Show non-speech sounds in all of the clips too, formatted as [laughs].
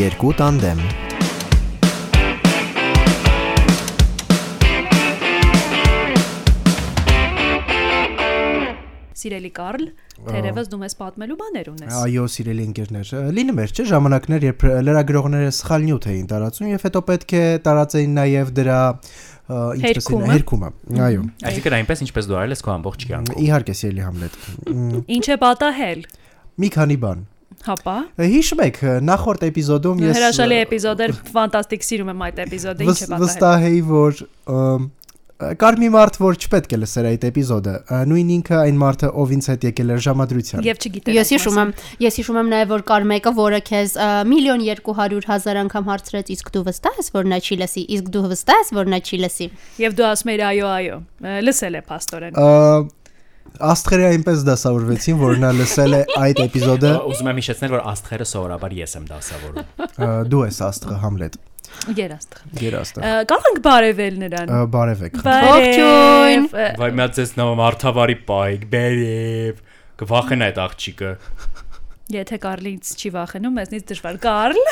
Երկու տանդեմ Սիրելի Կարլ, թերևս դու մեզ պատմելու բաներ ունես։ Այո, սիրելի ընկերներ, լինում էր, չէ՞, ժամանակներ, երբ լրագրողները սխալ նյութ էին տարածում եւ հետո պետք է տարածեին նաեւ դրա ը, ինչպես են հերքումը։ Այո։ Այսինքն այնպես ինչպես դու արել ես քո ամբողջ կյանքում։ Իհարկե, սիրելի Համլետ։ Ինչ է պատահել։ Մի քանի բան։ Հապա։ Հիշում եք, նախորդ էպիզոդում ես Հրաշալի էպիզոդ էր, ֆանտաստիկ սիրում եմ այդ էպիզոդը, ինչ է վս- պատահել։ վստահ էի, որ ըմ, կար մի մարդ, որ չպետք է լսեր այդ էպիզոդը։ ը, Նույն ինքը այն մարդը, ով ինձ հետ եկել էր ժամադրության։ Եվ չգիտեմ։ Ես հիշում եմ, ես հիշում եմ նաև որ կար մեկը, որը քեզ ա, միլիոն 200 հազար անգամ հարցրեց, իսկ դու վստահ ես, որ նա չի լսի, իսկ դու վստահ ես, որ նա չի լսի։ Եվ դու ասում ես այո, այո։ ը, Լսել է փաստորեն։ Ա, Աստղերը այնպես դասավորվեցին, որ նա լսել է այդ էպիզոդը։ Ուզում եմ հիշեցնել, որ աստղերը սովորաբար ես եմ դասավորում։ ը, Դու ես Աստղը Համլետ։ Երաստղ։ ը, Գերաստղ։ Կարող ենք բարևել նրան։ Ա, Բարևեք։ Ողջույն։ ը, Վայ մի հատ ձեզ նամա արթավարի պայք, բերև։ Կվախենա այդ աղջիկը։ Եթե Կարլից չի վախենում, մեզնից դժվար Կարլ։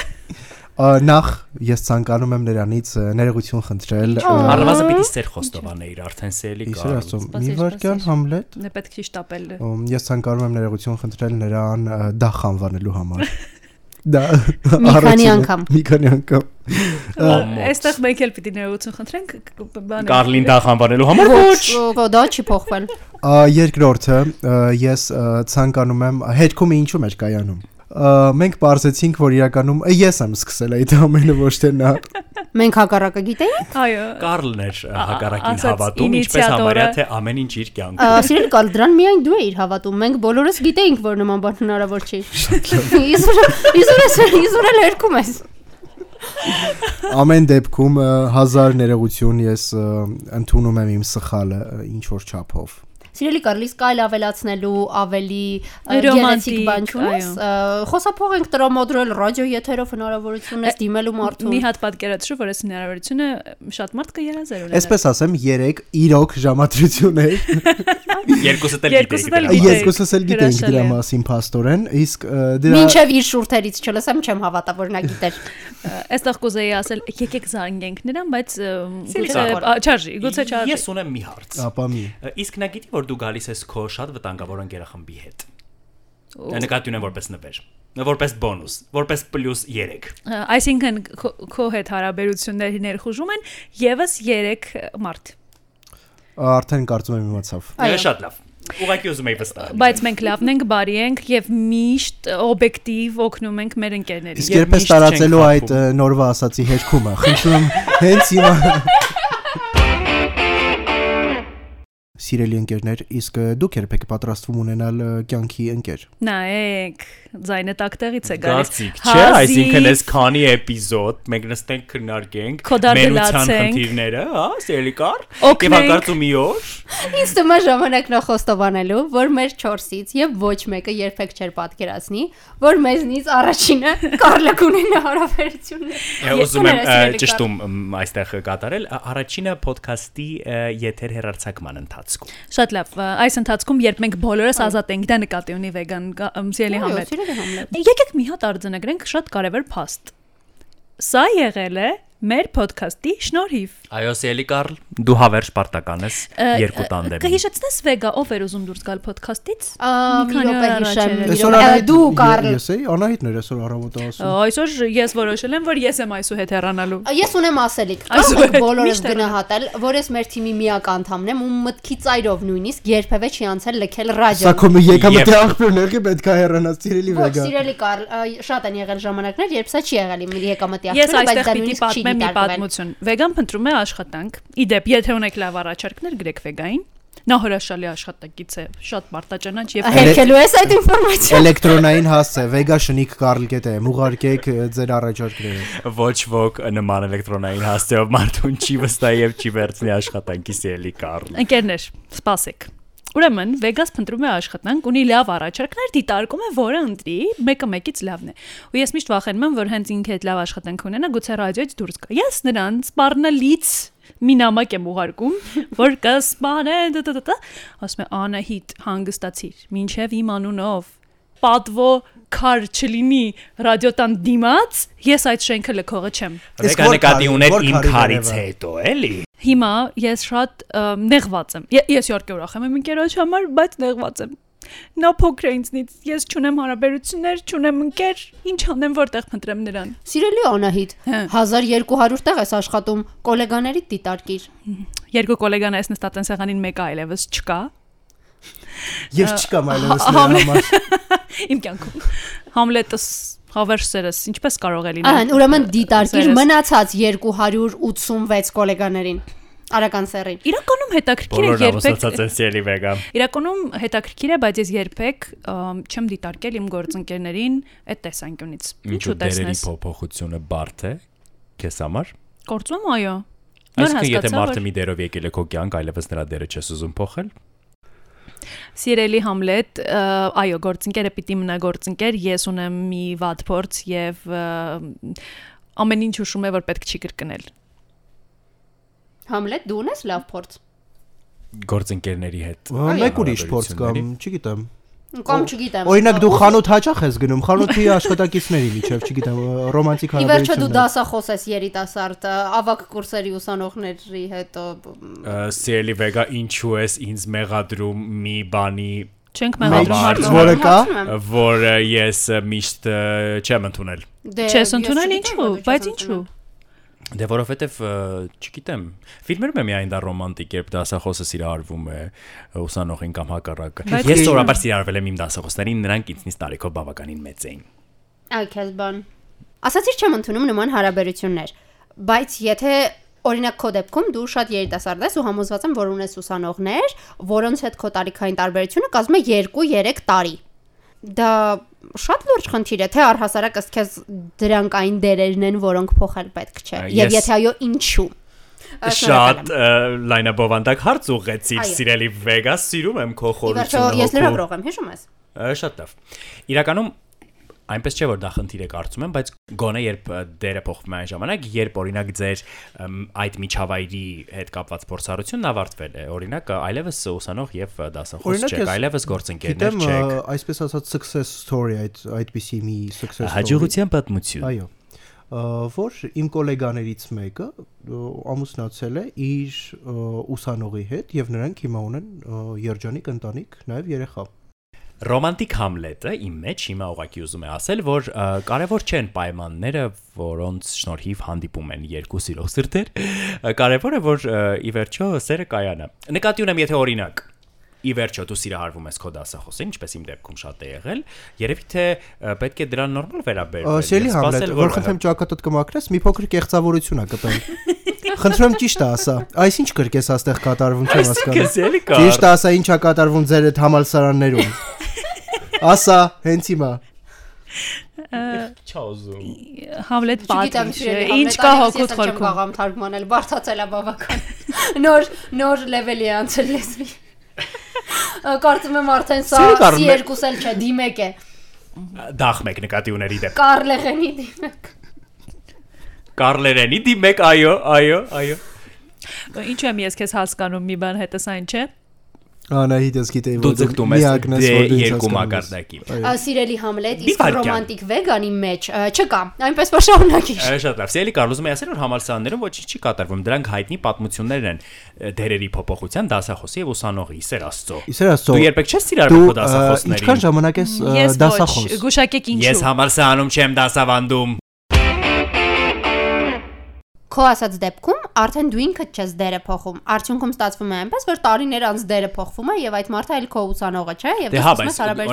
Ա, Նախ ես ցանկանում եմ նրանից ը, ներողություն խնդրել։ ը, Առավոտը պիտի ծեր խոստովանեիր արդեն սելի Իսեր կար։ աստծո, մի սպասիր, վարքյան սպասիր։ Համլետ։ Նա պետք չի շտապել։ ում, Ես ցանկանում եմ ներողություն խնդրել նրան ը, դախ անվանելու [laughs] համար։ Դա Մի քանի առողջին է, անգամ։ Մի քանի անգամ։ Ամոթ։ Այստեղ մենք էլ պիտի ներողություն խնդրենք կ- կ- բանը։ Կարլին դա խանվանելու համար ոչ։ Ոչ, դա չի փոխվել։ Ա, Երկրորդը ը, ես ը, ցանկանում եմ հետքումը ինչու՞ մեր կայանում։ Ա, Մենք բարձեցինք, որ իրականում ը, ես եմ սկսել այդ ամենը ոչ թե նա։ Մենք հակառակը գիտեինք։ Այո։ Կարլն էր ա, հակառակին ասաց հավատում, ինչպես ինիցիատորը։ համարյա թե ամեն ինչ իր ա, կյանքում։ Սիրելի Կարլ, դրան միայն դու էիր հավատում։ Մենք բոլորս գիտեինք, որ նման բան հնարավոր չի։ [laughs] Իզուր, իզուր ես, իզուր էլ երկում ես։ Ամեն դեպքում ը, հազար ներողություն ես ը, ընդունում եմ իմ սխալը ինչ որ չափով։ Սիրելի Կարլ, իսկ այլ ավելացնելու ավելի ա, Ռոմանտիկ, գեղեցիկ բան չունես։ այո։ Ա, Խոսափող ենք տրամադրել ռադիո եթերով հնարավորություն ես դիմելու Մի մարդուն։ հատ պատկերացրու, որ այս հնարավորությունը շատ մարդ կերազեր ունենա։ Այսպես ասեմ 3 իրոք ժամադրություն է։ Երկուսը դեռ Երկուսը գիտեիք։ Երկուսս էլ գիտենք էլ գիտեիք։ Հրաշալի դրա մասին։ դրա է։ մասին փաստորեն, իսկ ը, դրա Մինչև իր շուրթերից չլսեմ, չեմ հավատա, որ նա գիտեր։ Այստեղ կուզեի ասել, եկեք զանգենք նրան, բայց ը, գուցե Կարո։ ա, չարժի, գուցե չարժի։ Ես ունեմ մի հարց։ ապա մի։ Իսկ նա գիտի, որ դու գալիս ես քո շատ վտանգավոր ընկերախմբի հետ։ Նկատի ունեմ որպես նվեր, որպես բոնուս, որպես պլյուս 3։ Ա, Այսինքն քո- քո հետ հարաբերությունների ներխուժում են եւս 3 մարդ։ Արդեն կարծում եմ իմացավ։ Այո։ Շատ լավ։ Ուղղակի ուզում եի վստահ։ Բայց մենք լավն ենք, բարի ենք եւ միշտ օբյեկտիվ օգնում ենք մեր ընկերներին։ Իսկ երբ Եվ ես միշտ չենք տարածելու այդ խաբում։ ը, նորվա ասացի հերքումը, խնդրում եմ հենց հիմա Սիրելի ընկերներ, իսկ ը, դուք երբեք պատրաստվում ունենալ ը, կյանքի ընկեր։ Նայեք, ձայնը տակտեղից է գալիս։ Գացիկ, չէ, Հազիվ այսինքն այս քանի էպիզոդ մենք նստենք քննարկենք Քոդարդը լացենք։ խնդիրները, հա, սիրելի կար։ Եվ Օգնենք։ հակարդու մի օր Ինձ թվում է ժամանակն է խոստովանելու, որ մեր 4-ից եւ ոչ մեկը երբեք չէր պատկերացնի, որ մեզնից առաջինը Կարլը կունենա հարաբերություններ։ Ես Ես ուզում եմ ա, կուներ, սիրելի Կարլ։ ճշտում մ, այստեղ կատարել ա, առաջինը ոդքասթի եթեր հերարցակման ընթացքում։ Շատ լավ, ա, այս ընթացքում երբ մենք բոլորս ազատ ենք, դա նկատի ունի վեգան գա- ըմ, սիրելի Այո, համետ։ սիրելի Համլետ։ Եկեք մի հատ արձանագրենք շատ կարևոր փաստ։ Սա եղել է մեր ոդքասթի շնորհիվ։ Այո, սիրելի Կարլ, դու հավերժ պարտական ես երկու տանդեմ։ Կհիշեցնես Վեգա, ով էր ուզում դուրս գալ ոդքասթից։ Ա, Մի Մի քանի րոպե օր առաջ հիշեմ, էր մի Այսօր րոպե։ Ա, Անահիտ- Դու ե- Կարլ։ Ես էի, Անահիտն էր այսօր առավոտը ասում։ Այսօր ես որոշել եմ, որ ես եմ այսուհետ հեռանալու։ Ես ունեմ ասելիք։ Այսօր Այսօր այդ բոլորս միշտ է գնահատել, որ ես մեր թիմի միակ անդամն եմ ու մտքի ծայրով նույնիսկ երբևէ չի անցել լքել ռադիո։ Սա քո մի եկամտի Եվ- աղբյուրներ է պետք է հեռանաց սիրելի Ոչ, վեգա։ սիրելի Կարլ, ա, շատ են եղել ժամանակներ, երբ սա չի եղել իմ եկամտի Ես ախտը, բայց այստեղ դա պիտի նույնիսկ չի պատմեմ մի դիտարկվել։ պատմություն։ Վեգան փնտրում է աշխատանք։ Իդեպ, եթե ունեք լավ առաջարկներ, գրեք Վեգային։ Նա հրաշալի աշխատակից է, շատ մարտաճանաչ եւ [laughs] Հերքելու ես այդ ինֆորմացիան։ Էլեկտրոնային հասցե Vega շնիկ Karl.get-ը ուղարկեք ը, ձեր առաջարկները։ Ոչ ոք նման էլեկտրոնային հաստեով մարդուն չի վստահ եւ չի վերցնի աշխատանքի սիրելի Կարլ։ Ընկերներ, սպասեք։ Ուրեմն Վեգաս փնտրում է աշխատանք, ունի լավ առաջարկներ, դիտարկում է, որը ընտրի, մեկը մեկից լավն է։ Ու ես միշտ վախենում եմ, որ հենց ինքը այդ լավ աշխատանք ունենա, գուցե ռադիոից դուրս գա։ Ես նրան սպառնալից մի նամակ եմ ուղարկում, որ կսպանե դդդդ, ասում է Անահիտ, հանգստացիր, ինչև իմ անունով պատվո քար չլինի ռադիոտան դիմաց, ես այդ շենքը լքողը չեմ։ Իսկ Ռեկա որ նկատի քարի- ուներ որ իմ քարի քարից ներևը։ հետո, էլի։ Հիմա ես շատ ը, նեղված եմ։ Ե- Ես իհարկե ուրախ եմ իմ ընկերոջ համար, բայց նեղված եմ։ Նա փոքր է ինձնից։ Ես չունեմ հարաբերություններ, չունեմ ընկեր, ինչ անեմ, որտեղ փնտրեմ նրան։ Սիրելի Անահիտ, Հա։ 1200 տեղ ես աշխատում, գոլեգաներիդ դիտարկիր։ Երկու կոլեգան այս նստած են սեղանին մեկը այլևս չկա Եվ չկա մայլովս հա- նրա համլե- համար։ իմ կյանքում։ Համլետս հավերսերս ինչպես կարող է լինել։ Ահա, ուրեմն դիտարկիր Սերս։ մնացած 286 գոլեգաներին։ Արական սերին։ Իրականում հետաքրքիր է Բոլորը երբեք հավասարացած են սիրելի վեգա։ Իրականում հետաքրքիր է, բայց ես երբեք ըմ, չեմ դիտարկել իմ գործընկերներին այդ տեսանկյունից։ Ինչու դերերի տեսնես։ փոփոխությունը բարդ է քեզ համար։ Գործում այո։ Նոր Այսինքն եթե հասկացա, մարդը որ մի դերով եկել է քո կյանք, այլևս նրա դերը չես ուզում փոխել, Սիրելի Համլետ, ը, այո, գործընկերը պիտի մնա գործընկեր, ես ունեմ մի վատ փորձ եւ ը, ամեն ինչ հուշում է, որ պետք չի կրկնել։ Համլետ, դու ունես լավ փորձ։ գործընկերների հետ։ Ա, Մեկ ուրիշ փորձ կամ, հարաբերությունների։ չգիտեմ։ Կամ չգիտեմ։ Օրինակ դու խանութ հաճախ ես գնում, խանութի աշխատակիցների միջև, չգիտեմ, ռոմանտիկ Ի վերջո դու հարաբերություններ։ դասախոս ես երիտասարդ, ավակ կուրսերի ուսանողների հետ։ ը, Ա, Սիրելի վեգա, ինչու ես ինձ մեղադրում մի բանի, Չենք Մեջ, մեղադրում Համարտ, մարդուն։ Որը կա։ հարցում եմ։ որը ես ը, միշտ ը, չեմ ընդունել։ Դե, ես Չես ընդունել չգիտեմ, ինչու, որ չես բայց ընդունել։ ինչու։ Դե որովհետև ը, չգիտեմ, ֆիլմերում է միայն դա ռոմանտիկ, երբ դասախոսը սիրարվում է ուսանողին կամ հակառակը։ Բայց Ես չէ։ սովորաբար սիրարվել եմ իմ դասախոսներին, նրանք ինձնից տարիքով բավականին մեծ էին։ Այ քեզ բան։ Ասացիր չեմ ընդունում նման հարաբերություններ, բայց եթե օրինակ քո դեպքում դու շատ երիտասարդ ես ու համոզված եմ, որ ունես ուսանողներ, որոնց հետ քո տարիքային տարբերությունը կազմում է 2-3 տարի։ Դա շատ լուրջ խնդիր է, թե առհասարակ ըստ քեզ դրանք այն դերերն են, որոնք փոխել պետք չէ։ Այ, Եվ ես- եթե այո, ինչու։ Ա, շնորհակալ Շատ եմ։ ը, լայնաբովանդակ հարց ուղեցիր, Այո։ սիրելի Վեգա, սիրում եմ քո Ի վերջո խորությունը։ ես լրագրող եմ, հիշում ես։ Ա, Շատ լավ։ Իրականում այնպես չէ որ դա խնդիր է կարծում եմ, բայց գոնե երբ ը, դերը փոխվում է այն ժամանակ, երբ օրինակ ձեր ըմ, այդ միջավայրի հետ կապված փորձառությունն ավարտվել է, օրինակ ը, այլևս ուսանող եւ ը, դասախոս Օրինակ, չեք, ես այլևս գործընկերներ Գիտեմ, չեք։ ա, այսպես ասած success story այդ այդպիսի մի success story։ Հաջողության պատմություն։ Այո։ ա, Որ իմ գոլեգաներից մեկը ա, ամուսնացել է իր ա, ուսանողի հետ եւ նրանք հիմա ունեն ա, երջանիկ ընտանիք, նաեւ երեխա։ Ռոմանտիկ Համլետը իմ մեջ հիմա ուղակի ուզում է ասել, որ ը, կարևոր չեն պայմանները, որոնց շնորհիվ հանդիպում են երկու սիրո սրտեր։ Ը, Կարևորը որ ը, ի վերջո սերը կայանա։ Նկատի ունեմ, եթե օրինակ Ի վերջո դու սիրահարվում ես քո դասախոսին, ինչպես իմ դեպքում շատ է եղել, երևի թե ը, պետք է դրան նորմալ Ա, վերաբերվել։ Սիրելի եւ Համլետ, սպասել, որ [laughs] խնդրեմ ճակատդ կմաքրես, մի փոքր կեղծավորություն ա կտել։ Խնդրեմ ճիշտ ասա։ Այս ինչ կրկես աստեղ կատարվում չեմ հասկանում։ Այսինքն սիրելի կա։ Ճիշտ ասա, ինչա կատարվում ձեր այդ համալսարաններում։ Ասա, հենց հիմա։ Չաուզում։ Համլետ Չգիտեմ, պատմի։ սիրելի Ինչ Համլետ, կա հոգուտ այլևս ես էլ չեմ խորքում։ Կարողամ թարգմանել, բարձացել է բավական։ [laughs] Նոր նոր լեվելի է անցել [laughs] լեզվի։ Ա, Կարծում եմ արդեն սա Սիրելի Կարմ, մե- C2-ս էլ չէ, D1 է։ Դախ մեկ նկատի ուների դեպք։ Կարլեղենի D1։ Կարլերենի դի մեկ, այո, այո, այո։ Ինչու եմ ես քեզ հասկանում, մի բան հետս այն չէ։ Անահիտ ես գիտեի, Դու որ ձգտում ես միակն ես, դե որ դու ինձ երկու հասկանում ես։ մակարդակի։ Ա, Սիրելի Համլետ, Մի իսկ վայրկյան։ ռոմանտիկ վեգանի մեջ ա, չկա։ Այնպես որ շարունակիր։ Այո, շատ լավ։ Սիրելի Կարլոս, ում եմ ասել, որ համալսարաններում ոչինչ չի կատարվում։ Դրանք հայտնի պատմություններն են ը, դերերի փոփոխության, դասախոսի եւ ուսանողի, Սեր Աստծո։ Իսեր Աստծո, Դու երբեք չես սիրարվել Դու քո ա, ինչքան դասախոսներին։ ժամանակ ես ա, Ես ոչ, դասախոս։ գուշակեք ինչու։ Ես համալսարանում չեմ դասավանդում։ Քո ասած դեպքում արդեն դու ինքդ չես դերը փոխում։ Արդյունքում ստացվում է այնպես, որ տարիներ անց դերը փոխվում է եւ այդ մարդը այլ քո ուսանողը չէ, Դե եւ դու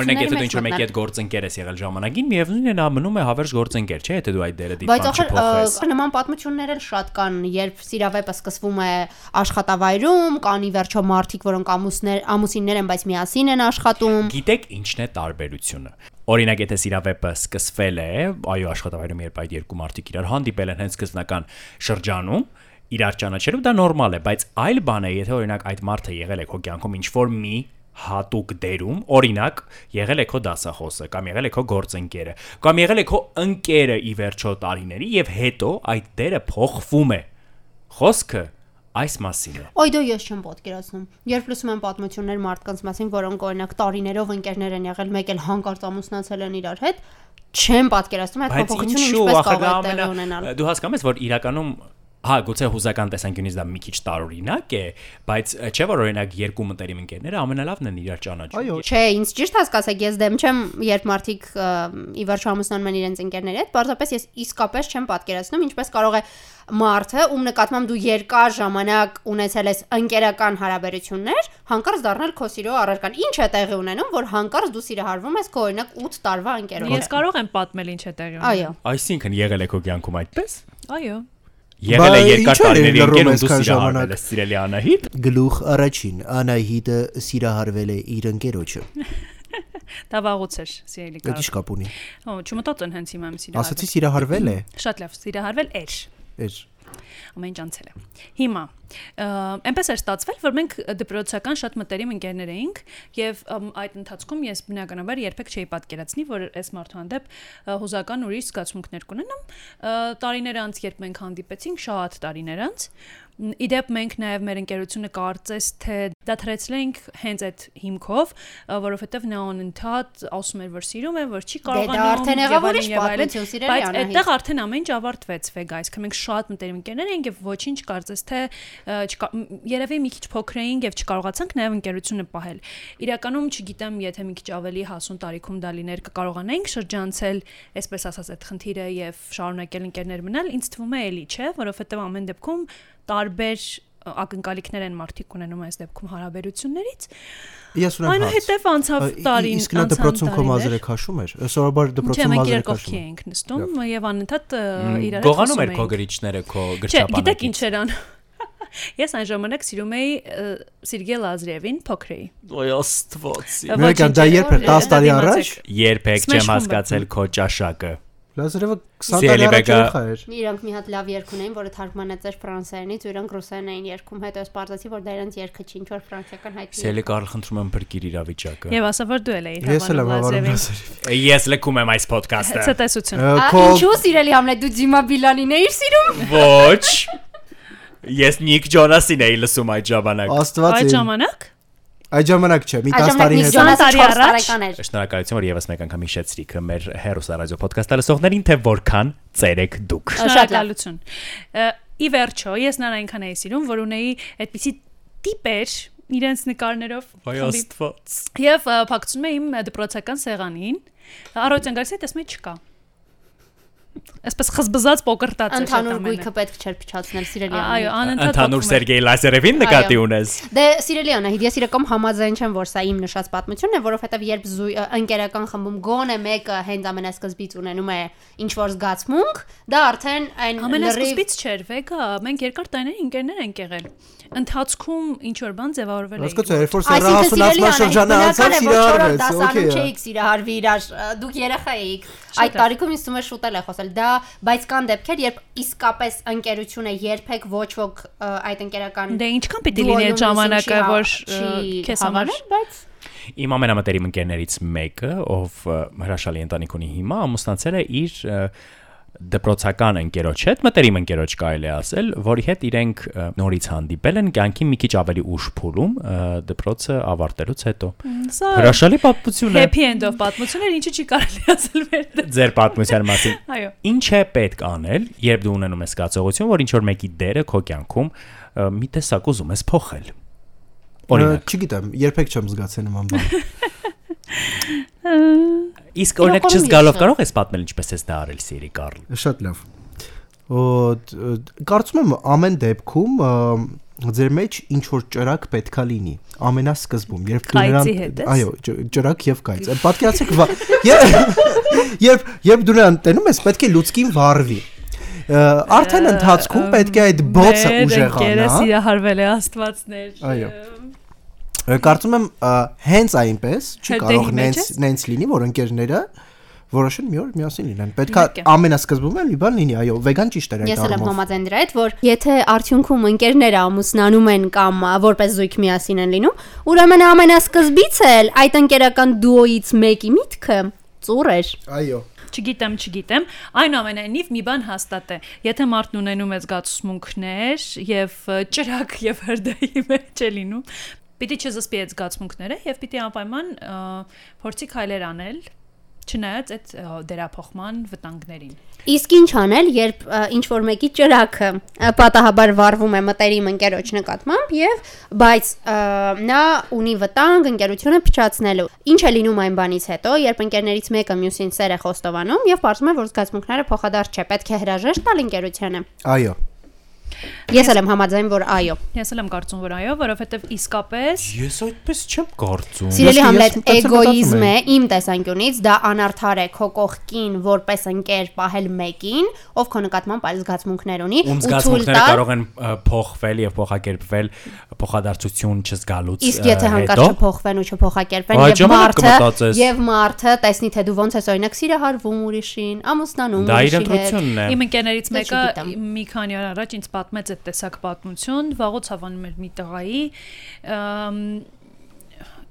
հա, բայց օրինակ ստացվում ես հարաբերությունների եթե դու ինչ-որ մեկի մեջ մտնել։ հետ գործընկեր ես եղել ժամանակին, միևնույնն է նա մնում է հավերժ գործընկեր, չէ՞, եթե դու այդ դերը Բայց դիտում ախր չփոխես։ ա, նման պատմություններ էլ շատ կան, երբ սիրավեպը սկսվում է աշխատավայրում, կան ի վերջո մարդիկ, որոնք ամուսներ, ամուսիններ են, բայց միասին են աշխատում։ Գիտեք ինչն է տարբերությունը։ Օրինակ, եթե սիրավեպը սկսվել է, այո, աշխատավայրում երբ այդ երկու մարդիկ իրար հանդիպել են հենց սկզբնական շրջանում, իրար ճանաչելու դա նորմալ է, բայց այլ բան է, եթե օրինակ այդ մարդը եղել է քո կյանքում ինչ որ մի հատուկ դերում, օրինակ, եղել է քո դասախոսը կամ եղել է քո գործընկերը, կամ եղել է քո ընկերը ի վերջո տարիների եւ հետո այդ դերը փոխվում է։ Խոսքը այս մասին է։ Այ դա ես չեմ պատկերացնում։ Երբ լսում եմ պատմություններ մարդկանց մասին, որոնք օրինակ տարիներով ընկերներ են եղել, մեկ էլ հանկարծ ամուսնացել են իրար հետ, չեմ պատկերացնում այդ Բայց փոփոխությունը ինչու ախր դա ինչպես կարող է տեղի ունենալ։ ամենա դու հասկանում ես որ իրականում Հա, գուցե հուզական տեսանկյունից դա մի քիչ տարօրինակ է, բայց ը, չէ՞ որ օրինակ երկու մտերիմ ընկերները ամենալավն են իրար ճանաչում։ Այո, Չէ, ինձ ճիշտ հասկացեք, ես դեմ չեմ, երբ մարդիկ ը, ի վերջո ամուսնանում են իրենց ընկերների հետ, պարզապես ես իսկապես չեմ պատկերացնում, ինչպես կարող է մարդը, ում նկատմամբ դու երկար ժամանակ ունեցել ես ընկերական հարաբերություններ, հանկարծ դառնալ քո սիրո առարկան։ Ինչ է տեղի ունենում, որ հանկարծ դու սիրահարվում ես քո օրինակ 8 տարվա ընկերով։ Ես կարող եմ պատմել ինչ է տեղի ունենում։ Այո։ Այսինքն եղել է քո կյանքում այդպես։ Այո։ Եղել է Բա, երկար ինչու էր տարիների լռում ընկերում դու այսքան սիրահարվել ժամանակ։ ես սիրելի Անահիտ։ Գլուխ առաջին Անահիտը սիրահարվել է իր ընկերոջը։ Հա։ Դա վաղուց էր սիրելի Դա կարող։ ի՞նչ կապ ունի։ Հա, չմտածեն հենց հիմա իմ Ասացի սիրահարվել սիրահարվել։ է։ Շատ լավ, սիրահարվել էր։ Էս Ամեն ինչ անցել է։ Հիմա ը, այնպես էր ստացվել, որ մենք դպրոցական շատ մտերիմ ընկերներ էինք եւ ըմ, այդ ընթացքում ես բնականաբար երբեք չէի պատկերացնի, որ այս մարդու հանդեպ ը, հուզական ուրիշ զգացմունքներ կունենամ։ Ը, Տարիներ անց, երբ մենք հանդիպեցինք, շատ տարիներ անց, մ, իդեպ մենք նաեւ մեր ընկերությունը կարծես թե դադարեցել ենք հենց այդ հիմքով, ը, որովհետեւ նա անընդհատ ասում էր, որ սիրում է, որ չի կարողանում։ Դե արդեն եւ եղավ այլն, ուրիշ եւ այլն, պատմություն, սիրելի բայց Անահիտ։ այդտեղ արդեն ամեն ինչ ավարտվեց վեգա, այսինքն մենք շատ մտերիմ ընկերներ ենք եւ ոչինչ կարծես թե ը, չկա- մ, երևի մի քիչ փոքր էինք եւ չկարողացանք նաեւ ընկերությունը պահել։ Իրականում չգիտեմ, եթե մի քիչ ավելի հասուն տարիքում դա լիներ, կկարողանայինք շրջանցել, այսպես ասած, այդ խնդիրը եւ շարունակել ընկերներ մնալ, ինձ թվում է էլի, չէ, որովհետեւ ամեն դեպքում տարբեր ը, ակնկալիքներ են մարդիկ ունենում այս դեպքում հարաբերություններից։ ես ունեմ հաց։ Այնուհետև անցավ Ա, ի- տարին, Իսկ նա անցան դպրոցում քո տարիներ։ մազերը քաշում էր։ Սովորաբար Չէ, դպրոցում մենք մազերը երկովքի քաշում։ էինք նստում եւ անընդհատ ը, իրար հետ Գողանում խոսում էր քո էինք։ գրիչները, քո Չէ, գիտեք գրչապանը։ ինչ երան։ [laughs] Ես այն ժամանակ սիրում էի ը, Սերգեյ Լազրևին փոքրեի։ Ոյ աստված։ Ա, Մենք ոչինչ, դա երբ էր դա 10 տարի դիմացեք։ առաջ։ Երբեք Smash չեմ Bomb-ը։ հասկացել քո ճաշակը։ Լազարևը 20 Սիրելի տարի առաջ Բեկա, ուխա էր։ Իրանք մի հատ լավ երգ ունեին, որը թարգմանած էր ֆրանսերենից, ու իրանք ռուսերեն էին երգում, հետո ես բարձացի, որ դա իրանք երգը չի, ինչ որ ֆրանսիական հայտնի։ Սելի Կարլ, խնդրում եմ բրկիր իրավիճակը։ Եվ ասա որ դու էլ էի Ես էլ եմ հավանում Լազրևին։ Լազարևին։ Ես լքում եմ այս ոդկասթը։ Ցտեսություն։ Ա, Ա, Քո Ինչու՞ սիրելի Համլետ, դու Դիմա Բիլանին էիր սիրում։ Ոչ։ Ես Նիկ Ջոնասին էի լսում այդ ժամանակ։ Աստված Այդ է։ ժամանակ Այդ ժամանակ չէ, մի 10 Այժմ տարի Նիկ հետո։ Ջոնասը 4 առաջ։ Շնորհակալություն, Ջոնասը 4 տարեկան էր։ որ եւս մեկ անգամ հիշեցրիք մեր հերոս ռադիո ոդկասթը լսողներին, թե որքան ծերեք դուք։ շնորհակալություն։ Ա, Ի վերջո, ես նրան այնքան էի սիրում, որ ունեի այդպիսի տիպեր իրենց նկարներով։ Ոյ խմբի։ աստված։ Եվ ա, փակցում եմ իմ դպրոցական սեղանին։ Առողջան գալիս է, տեսնում եմ չկա։ Այսպես խզբզած փոկրտած է շատ Ընդհանուր ամենը։ գույքը պետք չէր փչացնել սիրելի Այո, Անահիտ։ անընդհատ Ընդհանուր փոխում է։ Սերգեյ Լազարևին նկատի Այո։ ունես։ Դե սիրելի Անահիտ, ես իրական համաձայն չեմ, որ սա իմ նշած պատմությունն է, որովհետև երբ զույ- ը, ընկերական խմբում գոնե մեկը հենց ամենասկզբից ունենում է ինչ որ զգացմունք, դա արդեն այն լրիվ Ամենասկզբից չէր վեգա, մենք երկար տարիներ ընկերներ ենք եղել։ Ընթացքում ինչ որ բան ձևավորվել է։ Հասկացա, երբ որ սերա Այսինքն սիրելի հասունացման շրջանը Անահիտ, բնական անցավ, սիրահարվեց, է, որ չորրորդ դասարանում օքեյ։ չէիք սիրահարվի իրար, ա, դուք երեխա էիք։ Այդ լավ։ տարիքում ինձ թվում է շուտել է խոսել։ Դա, բայց կան դեպքեր, երբ իսկապես ընկերությունը երբեք ոչ ոք ա, այդ ընկերական Դե ինչքան պիտի լինի այդ ժամանակը, որ հա- ը, քեզ համար բայց Իմ ամենամտերիմ ընկերներից մեկը, ով ը, հրաշալի ընտանիք ունի հիմա, ամուսնացել է իր ը, դպրոցական ընկերոջ հետ, մտերիմ ընկերոջ կարելի է ասել, որի հետ իրենք ը, նորից հանդիպել են կյանքի մի քիչ ավելի ուշ փուլում ը, դպրոցը ավարտելուց հետո։ Սա Հրաշալի պատմություն է happy end-ով պատմություն էր, ինչը չի կարելի [laughs] ասել մեր դեպքում։ ձեր պատմության մասին։ Այո։ Ինչ է պետք անել, երբ դու ունենում ես զգացողություն, որ ինչ որ մեկի դերը քո կյանքում ը, մի տեսակ ուզում ես փոխել։ Օրինակ, Ա, Չգիտեմ, երբեք չեմ զգացել նման բան։ իսկ օրինակ իրականում ես չզգալով չեմ։ կարող ես պատմել ինչպես ես դա արել, Սիրի Կարլ։ [laughs] Շատ լավ։ Օ, դ- դ- Կարծում եմ ամեն դեպքում ա, ձեր մեջ ինչ որ ճրակ պետքա լինի ամենասկզբում երբ դու Կայծի նրան հետ ես։ այո ճ- ճրակ եւ կայծ պատկերացեք վա- [laughs] ե- երբ երբ դու նրան տենում ես պետք է լուցկին վառվի Ա, արդեն ընթացքում պետք է այդ բոցը Ես ուժեղանա իրահարվել է աստվածներ։ հա? Այո։ Կարծում եմ ա, հենց այնպես չի Հետ կարող դեհի մեջ նենց ես։ նենց լինի, որ ընկերները որոշեն մի օր միասին լինեն։ Պետքա Իհարկե։ ամենասկզբում էլ մի բան լինի, այո, վեգան ճիշտ էր այդ Ես էլ եմ առումով։ համաձայն դրա հետ, որ եթե արդյունքում ընկերները ամուսնանում են կամ ա, որպես զույգ միասին են լինում, ուրեմն ամենասկզբից էլ այդ ընկերական դուոից մեկի միտքը ծուռ էր։ Այո։ Չգիտեմ, չգիտեմ, այնուամենայնիվ մի բան հաստատ է։ Եթե մարդն ունենում է զգացմունքներ եւ ը, ճրակ եւ հրդեհի մեջ է լինում, պիտի չզսպի այդ զգացմունքները եւ պիտի անպայման ը, փորձի քայլեր անել չնայած այդ ը, դերափոխման վտանգներին։ Իսկ ինչ անել, երբ ինչ որ մեկի ճրակը ա, պատահաբար վառվում է մտերիմ ընկերոջ նկատմամբ եւ բայց ա, նա ունի վտանգ ընկերությունը փչացնելու։ Ինչ է լինում այն բանից հետո, երբ ընկերներից մեկը մյուսին սեր է խոստովանում եւ ողջում է, որ զգացմունքները փոխադարձ չէ, պետք է հրաժեշտ տալ ընկերությանը։ Այո, Ես էլ եմ համաձայն, որ այո։ Ես էլ եմ կարծում, որ այո, որովհետեւ իսկապես Ես այդպես չեմ կարծում։ Սիրելի ես Համլետ, մտածում եմ, էգոիզմ է մտածում իմ տեսանկյունից, դա անարդար է քո կողքին որպես ընկեր պահել մեկին, ով քո նկատմամբ այլ զգացմունքներ ունի Ում զգացմունքները կարող են ը, փոխվել եւ փոխակերպվել փոխադարձություն չզգալուց։ Իսկ եթե ը, հանկարծ հետո, չփոխվեն ու չփոխակերպեն Այդ եւ ժամանակ մարդը կմտածես։ եւ մարդը տեսնի թե դու ոնց ես օրինակ սիրահարվում ուրիշին, ամուսնանում Դա իր ուրիշի հետ։ ընտրությունն է։ Իմ ընկերներից Դա մեկը չգիտեմ։ մի քանի օր առաջ ինձ պատմեց այդ տեսակ պատմություն, վաղուց հավանում էր մի տղայի, ըմ,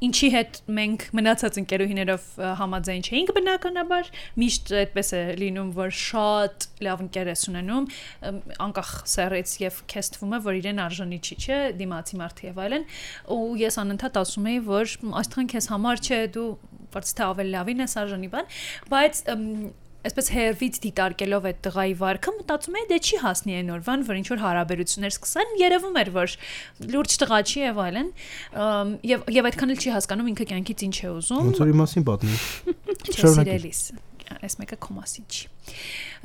ինչի հետ մենք մնացած ընկերուհիներով ը, համաձայն չէինք բնականաբար, միշտ այդպես է լինում, որ շատ լավ ընկեր ես ունենում, ըմ, անկախ սեռից եւ քեզ թվում է, որ իրեն արժանի չի, չէ, դիմացի մարդ եւ այլն, ու ես անընդհատ ասում էի, որ այսքան քեզ համար չէ, դու բայց թե ավելի լավին ես արժանի բան, բայց ըմ, այսպես հերվից դիտարկելով այդ տղայի վարքը մտածում էի դե չի հասնի այն օրվան, որ ինչ որ հարաբերություններ սկսան, երևում էր որ լուրջ տղա չի եւ այլն, ըմ, եւ եւ այդքան էլ չի հասկանում ինքը կյանքից ինչ է ուզում, ոնց որ իմ մասին [laughs] պատմի։ չէ շարունակիր։ սիրելիս։ Այս մեկը քո մասին չի։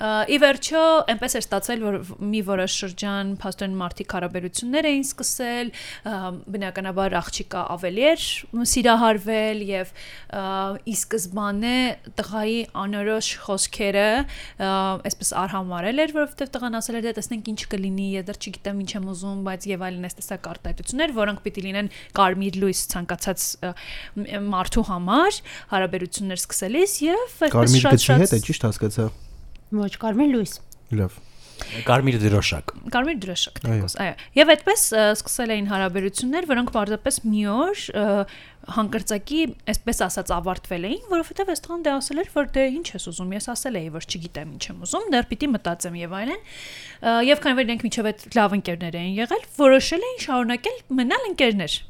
Ա, Ի վերջո, այնպես էր ստացվել, որ վ- մի որոշ շրջան փաստորեն մարտիկ հարաբերություններ էին սկսել, ա, բնականաբար աղջիկը ավելի էր սիրահարվել եւ ա, ի սկզբանե տղայի անորոշ խոսքերը ա, այսպես արհամարել էր, որովհետեւ տղան ասել էր, դե տեսնենք ինչ կլինի, ես դեռ չգիտեմ ինչ եմ ուզում, բայց եւ այլն այս տեսակ արտահայտություններ, որոնք պիտի լինեն կարմիր լույս ցանկացած ա, մ- մարդու համար հարաբերություններ սկսելիս եւ Կարմիր գծի հետ է, ճիշտ հասկացա։ Ոչ, Կարմեն լույս։ Լավ։ Կարմիր դրոշակ։ Կարմիր դրոշակ Այո։ տեկոս, այո։ Եվ այդպես ը, սկսել էին հարաբերություններ, որոնք պարզապես մի օր ը, հանկարծակի, այսպես ասած, ավարտվել էին, որովհետև այս տղան դե ասել էր, որ դե ինչ ես ուզում, ես ասել էի, որ չգիտեմ ինչ եմ ուզում, դեռ պիտի մտածեմ եւ այլն։ Ա, Եվ քանի որ իրենք միջև այդ լավ ընկերներ էին եղել, որոշել էին շարունակել մնալ ընկերներ։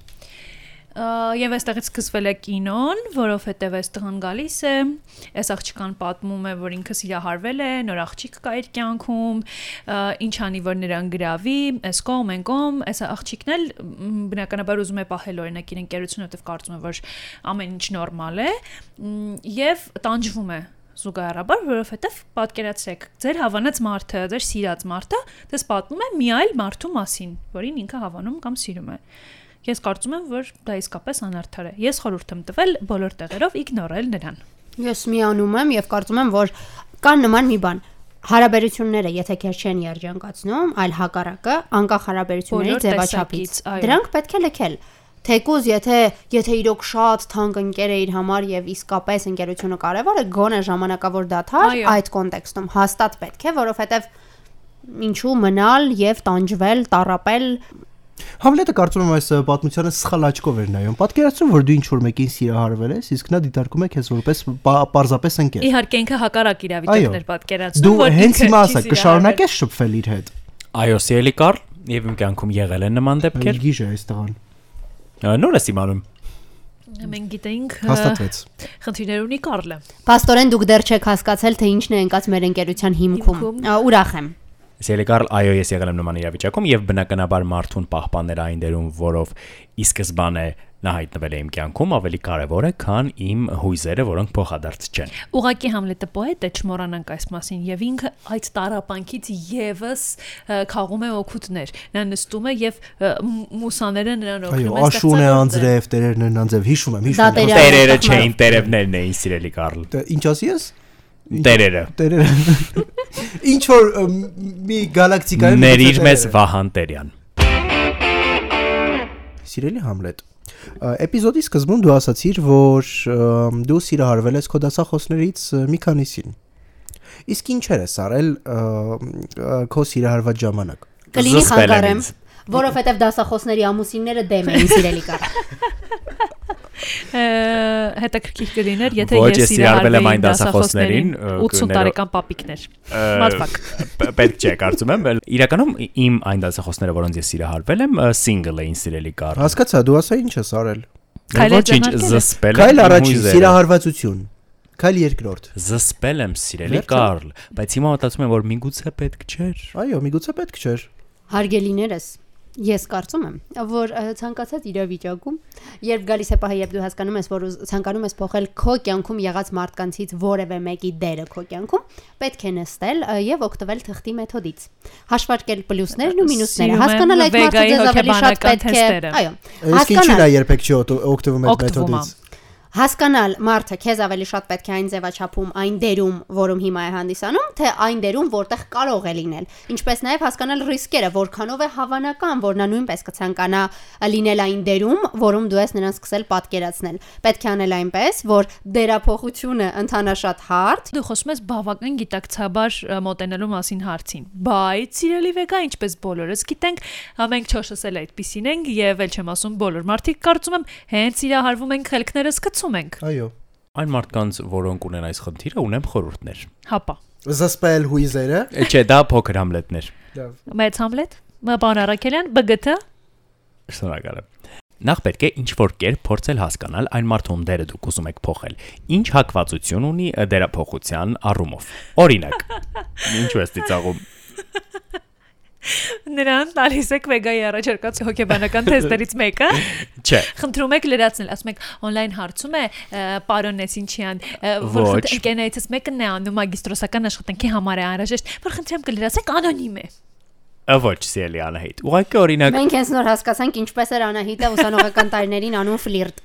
Ա, Եվ այստեղից սկսվել է կինոն, որովհետև այս տղան գալիս է, այս աղջկան պատմում է, որ ինքը սիրահարվել է, նոր աղջիկ կա իր կյանքում, ա, ինչ անի որ նրան գրավի, այս կողմ, այն կողմ, այս աղջիկն էլ մ, բնականաբար ուզում է պահել օրինակ իր ընկերությունը, որովհետև կարծում է, որ ամեն ինչ նորմալ է, մ, եւ տանջվում է զուգահեռաբար, որովհետև պատկերացրեք, ձեր հավանած մարդը, ձեր սիրած մարդը, դες պատմում է մի այլ մարդու մասին, որին ինքը հավանում կամ սիրում է։ Ես կարծում եմ, որ դա իսկապես անարդար է։ Ես խորհուրդ եմ տվել բոլոր տեղերով իգնորել նրան։ Ես միանում եմ եւ կարծում եմ, որ կան նման մի բան։ Հարաբերությունները, եթե քեր չեն երջանկացնում, այլ հակառակը, անկախ հարաբերությունների Բոլոր ձևաչափից, տեսակից, այո։ դրանք պետք է լքել։ Թեկուզ եթե եթե իրոք շատ թանկ ընկեր է իր համար եւ իսկապես ընկերությունը կարեւոր է, գոնե ժամանակավոր դաթար Այո։ այդ կոնտեքստում հաստատ պետք է, որովհետեւ ինչու մնալ եւ տանջվել, տարապել Համլետը կարծում եմ այս ը, պատմությանը սխալ աչքով էր նայում։ Պատկերացրու, որ դու ինչ որ մեկին սիրահարվել ես, իսկ նա դիտարկում է քեզ որպես պա- պարզապես ընկեր։ Իհարկե ինքը հակառակ իրավիճակներ պատկերացնում, Դու հենց ինքը հիմա չի ասա, սիրահարվել։ կշարունակես շփվել իր հետ։ Այո, սիրելի Կարլ, եւ իմ կյանքում եղել են նման դեպքեր։ Գիժ է այս տղան։ Հա, Ա, Նոր ես իմանում։ Մենք գիտենք ը, Հաստատվեց։ խնդիրներ ունի Կարլը։ Պաստորեն դուք դեռ չեք հասկացել, թե ինչն է ընկած մեր ընկերության հիմքում։ Հիմքում։ Ա, Ուրախ եմ։ Սիրելի Կարլ, այո, ես եղել եմ նման իրավիճակում եւ բնականաբար մարդուն պահպանել այն դերում, որով ի սկզբանե նա հայտնվել է իմ կյանքում, ավելի կարեւոր է, քան իմ հույզերը, որոնք փոխադարձ չեն։ Ուղակի Համլետը պոետ է, չմոռանանք այս մասին, եւ ինքը այդ տարապանքից եւս ը, քաղում է օգուտներ։ Նա նստում է եւ ը, մ- մուսաները նրան Այո, օգնում աշուն է ստեղծել գործեր։ անձրև, տերերն են անձրև, հիշում եմ, հիշում Դա եմ։ տերը- Տերերը չէին, տերևներն էին, սիրելի Կարլ։ Դե, Ինչ ասի ես։ Տերերը։ Տերերը։ [laughs] Ինչ որ ը, մ- մի գալակտիկայում Ներիր մեզ Վահան Տերյան։ Սիրելի Համլետ, ա, էպիզոդի սկզբում դու ասացիր, որ ըմ, դու սիրահարվել ես քո դասախոսներից ը, մի քանիսին։ Իսկ ինչեր ես արել ը, ը, քո սիրահարված ժամանակ։ Կլինի Զսպել են խանգարեմ, ինձ։ [laughs] որովհետև դասախոսների ամուսինները դեմ էին սիրելի կար։ հետաքրքիր կլիներ, եթե Ոչ, ես ես սիրալվել եմ այն դասախոսներին, ը, 80 կներո- տարեկան պապիկներ։ Մատվակ։ Ա, Պետք չէ, կարծում [laughs] եմ։ էլ Իրականում իմ այն դասախոսները, որոնց ես սիրահարվել եմ, single էին սիրելի կար։ Հասկացա, դու ասա ինչ ես արել։ Քայլեր Ոչինչ ձեռնարկել ես։ զսպել եմ։ Քայլ իմ առաջին հույզերը։ սիրահարվածություն։ Քայլ երկրորդ։ Զսպել եմ սիրելի Վերջը։ Կարլ, բայց հիմա մտածում եմ, որ միգուցե պետք չէր։ Այո, միգուցե պետք չէր։ Հարգելիներս, ես կարծում եմ, որ ը, ցանկացած իրավիճակում, երբ գալիս է պահը, երբ դու հասկանում ես, որ ուզ- ցանկանում ես փոխել քո կյանքում եղած մարդկանցից որևէ մեկի դերը քո կյանքում, պետք է նստել ը, եւ օգտվել թղթի մեթոդից։ Հաշվարկել պլյուսներն ու մինուսները, Սիրում եմ հասկանալ այդ մարդը վեգայի ձեզ ավելի շատ հոգեբանական պետք է, թեստերը։ այո, Իսկ ինչու՞ նա երբեք չի օգտ- օգտվում այդ Օգտվում ա։ մեթոդից։ հասկանալ մարդը քեզ ավելի շատ պետք է այն ձևաչափում, այն դերում, որում հիմա է հանդիսանում, թե այն դերում, որտեղ կարող է լինել։ Ինչպես նաև հասկանալ ռիսկերը, որքանով է հավանական, որ նա նույնպես կցանկանա լինել այն դերում, որում դու ես նրան սկսել պատկերացնել։ Պետք է անել այնպես, որ դերափոխությունը ընդհանրաշատ հարթ, Դու խոսում ես բավական գիտակցաբար ը, մոտենելու մասին հարցին։ Բայց սիրելի Վեգա, ինչպես բոլորս գիտենք, ա, մենք չոշս էլ այդպեսին ենք եւ էլ չեմ ասում բոլոր մարդիկ կարծում եմ հենց իրահարվում ենք խելքները սկցում ենք։ Այո։ Այն մարդկանց, որոնք ունեն այս խնդիրը, ունեմ խորհուրդներ։ Հապա։ Զսպել հույզերը։ Է, Չէ, դա փոքր համլետներ։ Լավ։ Մեծ Համլետ, Մ. Պան Արաքելյան, ԲԳԹ Շնորհակալ եմ։ Նախ պետք է ինչ որ կերպ փորձել հասկանալ այն մարդուն դերը դուք ուզում եք փոխել։ Ինչ հակվածություն ունի ը, դերափոխության առումով։ [laughs] Օրինակ, ինչու ես ծիծաղում։ նրան տալիս եք Վեգայի առաջարկած հոգեբանական թեստերից մեկը։ Չէ, Խնդրում եք լրացնել, ասում եք on-line հարցում է ը, պարոն Նեսինչյան, ը, որ Ոչ։ խնդրի- ընկերներիցս մեկն է անում մագիստրոսական աշխատանքի համար է անհրաժեշտ, որ խնդրեմ կլրացեք անոնիմ է։ ը, ոչ, սիրելի Անահիտ։ Ուղղակի օրինակ, Մենք հենց նոր հասկացանք ինչպես էր Անահիտը ուսանողական տարիներին անում ֆլիրտ։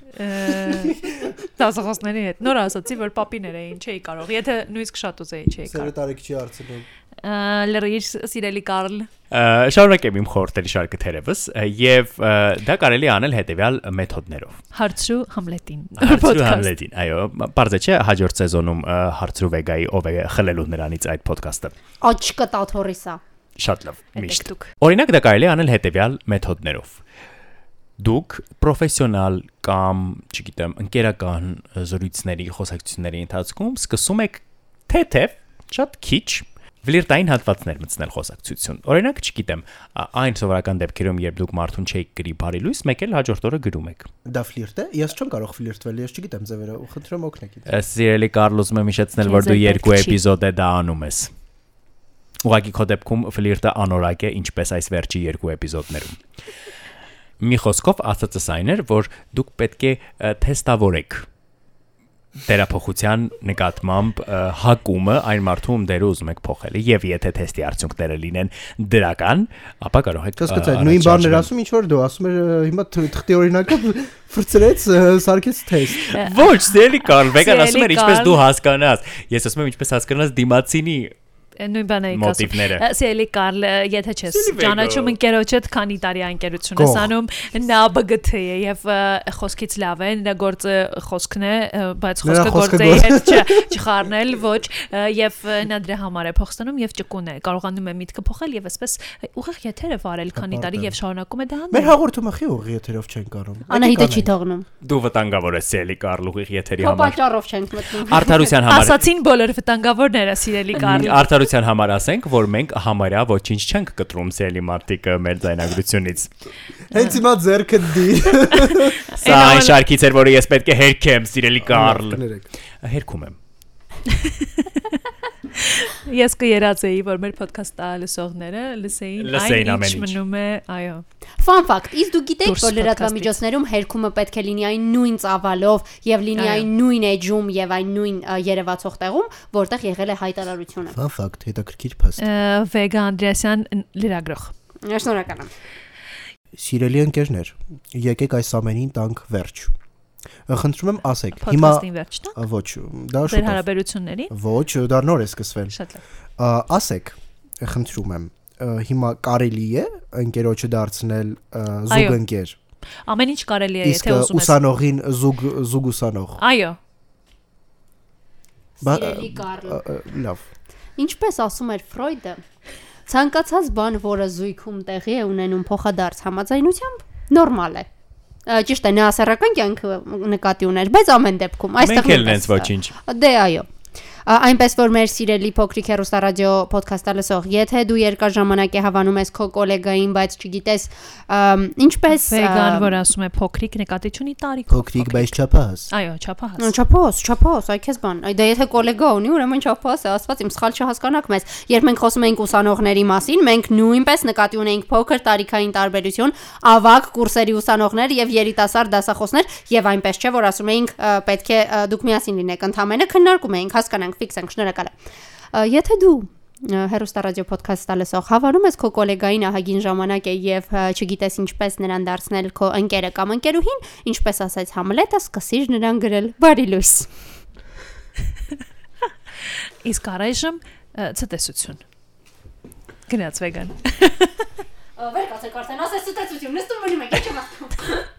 Դասախոսների հետ նոր ասացի, որ պապիներ էին, չէի կարող։ Եթե նույնիսկ շատ ուզեի, չէի կարող։ Սերը տարիք չի արցնում։ Ը, Լրիչ սիրելի Կարլ։ ը, շարունակեմ իմ խորհուրդների շարքը թերևս, ը, եւ ը, դա կարելի է անել հետեւյալ մեթոդներով։ Հարցու Համլետին։ Հարցրու Podcast։ Համլետին, այո, բարձե չէ հաջորդ սեզոնում ը, Հարցրու Վեգայի ով է խլելու նրանից այդ ոդկասթը։ Աչքը տաթորիսա։ Շատ լավ, Հետեք միշտ։ դուք։ Օրինակ դա կարելի է անել հետեւյալ մեթոդներով։ Դուք պրոֆեսիոնալ կամ, չգիտեմ, ընկերական զրույցների, խոսակցությունների ընթացքում սկսում եք թեթև, շատ քիչ ֆլիրտային հատվածներ մտցնել խոսակցություն։ Օրինակ, չգիտեմ, ա- այն սովորական դեպքերում, երբ դուք մարդուն չեք գրի բարի լույս, մեկ էլ հաջորդ օրը գրում եք։ Դա ֆլիրտ է։ Ես չեմ կարող ֆլիրտվել, ես չգիտեմ ձևերը։ ու Խնդրում օգնեք ինձ։ Ա, Սիրելի Կարլոս, մեմ հիշեցնել, Քեզ որ դու էլ երկու պետք չի։ էպիզոդ է դա անում ես։ Ուղղակի քո դեպքում ֆլիրտը անորակ է, ինչպես այս վերջի երկու էպիզոդներում։ Մի խոսքով ասածս այն էր, որ դուք պետք է ը, թեստավորեք դերափոխության նկատմամբ ը, հակումը այն մարդու, ում դերը ուզում եք փոխել։ Եվ եթե թեստի արդյունքները լինեն դրական, ապա կարող եք Կասկածա, նույն բաներ ասում, ինչ որ դու ասում էր հիմա թ- թղթի օրինակը ֆրծրեց, սարկեց թեստ։ Ոչ, դելի Կարլ, վեգան Սիրելի ասում էր, ինչպես Կարլ։ դու հասկանաս։ Ես ասում եմ, ինչպես հասկանաս դիմացինի նույն բանը եք ասում։ Մոտիվները։ Ա, Սիրելի Կարլ, ը, եթե չես Սիրելի Վեգա։ ճանաչում ընկերոջ հետ քանի տարի անկերություն ես Կող։ անում, նա բգթ է եւ ը, խոսքից լավ է, նա գործը խոսքն է, ը, բայց Նրա խոսքը խոսքը գործեի գործ- հետ չէ, չխառնել, ոչ, ը, եւ ը, նա դրա համար է փոխստանում եւ ճկուն է, կարողանում է միտքը փոխել եւ այսպես ուղիղ եթեր է վարել քանի տարի եւ շարունակում է դա Մեր անել։ հաղորդումը խի ուղի եթերով չեն կարող։ Անահիտը չի թողնում։ Դու վտանգավոր ես Սելի Կարլուղի եթերի Քո համար։ պատճառով չենք մտնում։ [laughs] Արդարության համար Ասացին բոլոր վտանգավորները, սիրելի Կարլ։ Արդարության համար ասենք, որ մենք համարյա ոչինչ չենք կտրում Սելի մարտիկը մեր ձայնագրությունից։ Հենց հիմա ձերքը դի։ Սա Էնա այն որ- շարքից էր, որը ես պետք է հերքեմ, Սիրելի Կարլ։ Կներեք։ Հերքում եմ։ Ես կերածեի, որ մեր ոդքասթը լսողները լսեին Լսեին այն ամեն ինչ ինչ։ մնում է, այո։ Fun fact, իսկ դու գիտեք, Դուրս որ լրատվամիջոցներում հերքումը պետք է լինի այն նույն ծավալով եւ լինի Այո։ այն նույն էջում եւ այն նույն ա, երևացող տեղում, որտեղ եղել է հայտարարությունը։ Fun fact, հետաքրքիր փաստ։ Ա, Վեգա Անդրեասյան ն- լրագրող։ Շնորհակալ եմ։ Սիրելի ընկերներ, եկեք այս ամենին տանք վերջ։ Խնդրում եմ ասեք, հիմա Պոդքասթին վերջ տա։ ոչ, դա Ձեր շուտ։ է։ հարաբերությունների։ Ոչ, դա նոր է սկսվել։ Շատ լավ։ Ա, ասեք, խնդրում եմ, ա, հիմա կարելի է ընկերոջը դարձնել ա, զուգ Այո, ընկեր։ Ամեն ինչ կարելի է, Իսկ եթե ա, ուզում ես։ ուսանողին զուգ զուգ ուսանող։ Այո, Բա- Սիրելի Կարլ, Ա, ա, Լավ։ ինչպես ասում էր Ֆրոյդը, ցանկացած բան, որը զույգում տեղի է ունենում փոխադարձ համաձայնությամբ, նորմալ է։ Ա, Ճիշտ է, նասերական կյանքը նկատի ուներ, բայց ամեն դեպքում Մենք այստեղ էլ նույնպես, նենց ոչինչ։ Դե այո։ Ա, Այնպես որ մեր սիրելի փոքրիկ հեռուստարադիո ոդքասթը լսող, եթե դու երկար ժամանակ է հավանում ես քո կոլեգային, բայց չգիտես ամ, ինչպես Վեգան, որ ասում է փոքրիկ նկատի ունի տարիք։ Փոքրիկ, բայց չափահաս։ Այո, չափահաս։ Չափոս, չափոս, այ քեզ բան։ Այ դա եթե կոլեգա ունի, ուրեմն չափոս է, ասված իմ սխալ չհասկանաք մեզ։ Երբ մենք խոսում էինք ուսանողների մասին, մենք նույնպես նկատի ունեինք փոքր տարիքային տարբերություն, ավակ կուրսերի ուսանողներ եւ երիտասարդ դասախոսներ, եւ այնպես չէ, որ ասում էինք ա, պետք է ա, դուք միասին լինեք, ընդամենը քննարկում էինք, հասկանանք, ֆիքս ենք, շնորհակալ եմ։ Ա, Եթե դու հերոստա ռադիո ոդքասթը լսող հավանում ես քո գոլեգային ահագին ժամանակ է եւ ա, չգիտես ինչպես նրան դարձնել քո ընկերը կամ ընկերուհին, ինչպես ասաց Համլետը, սկսիր նրան գրել բարի լույս։ Իսկ առայժմ ը, ցտեսություն։ Գնաց Վեգան։ Վեր կասեք արդեն ասես ստացություն, նստում մնում եք, ի՞նչ եմ ասում։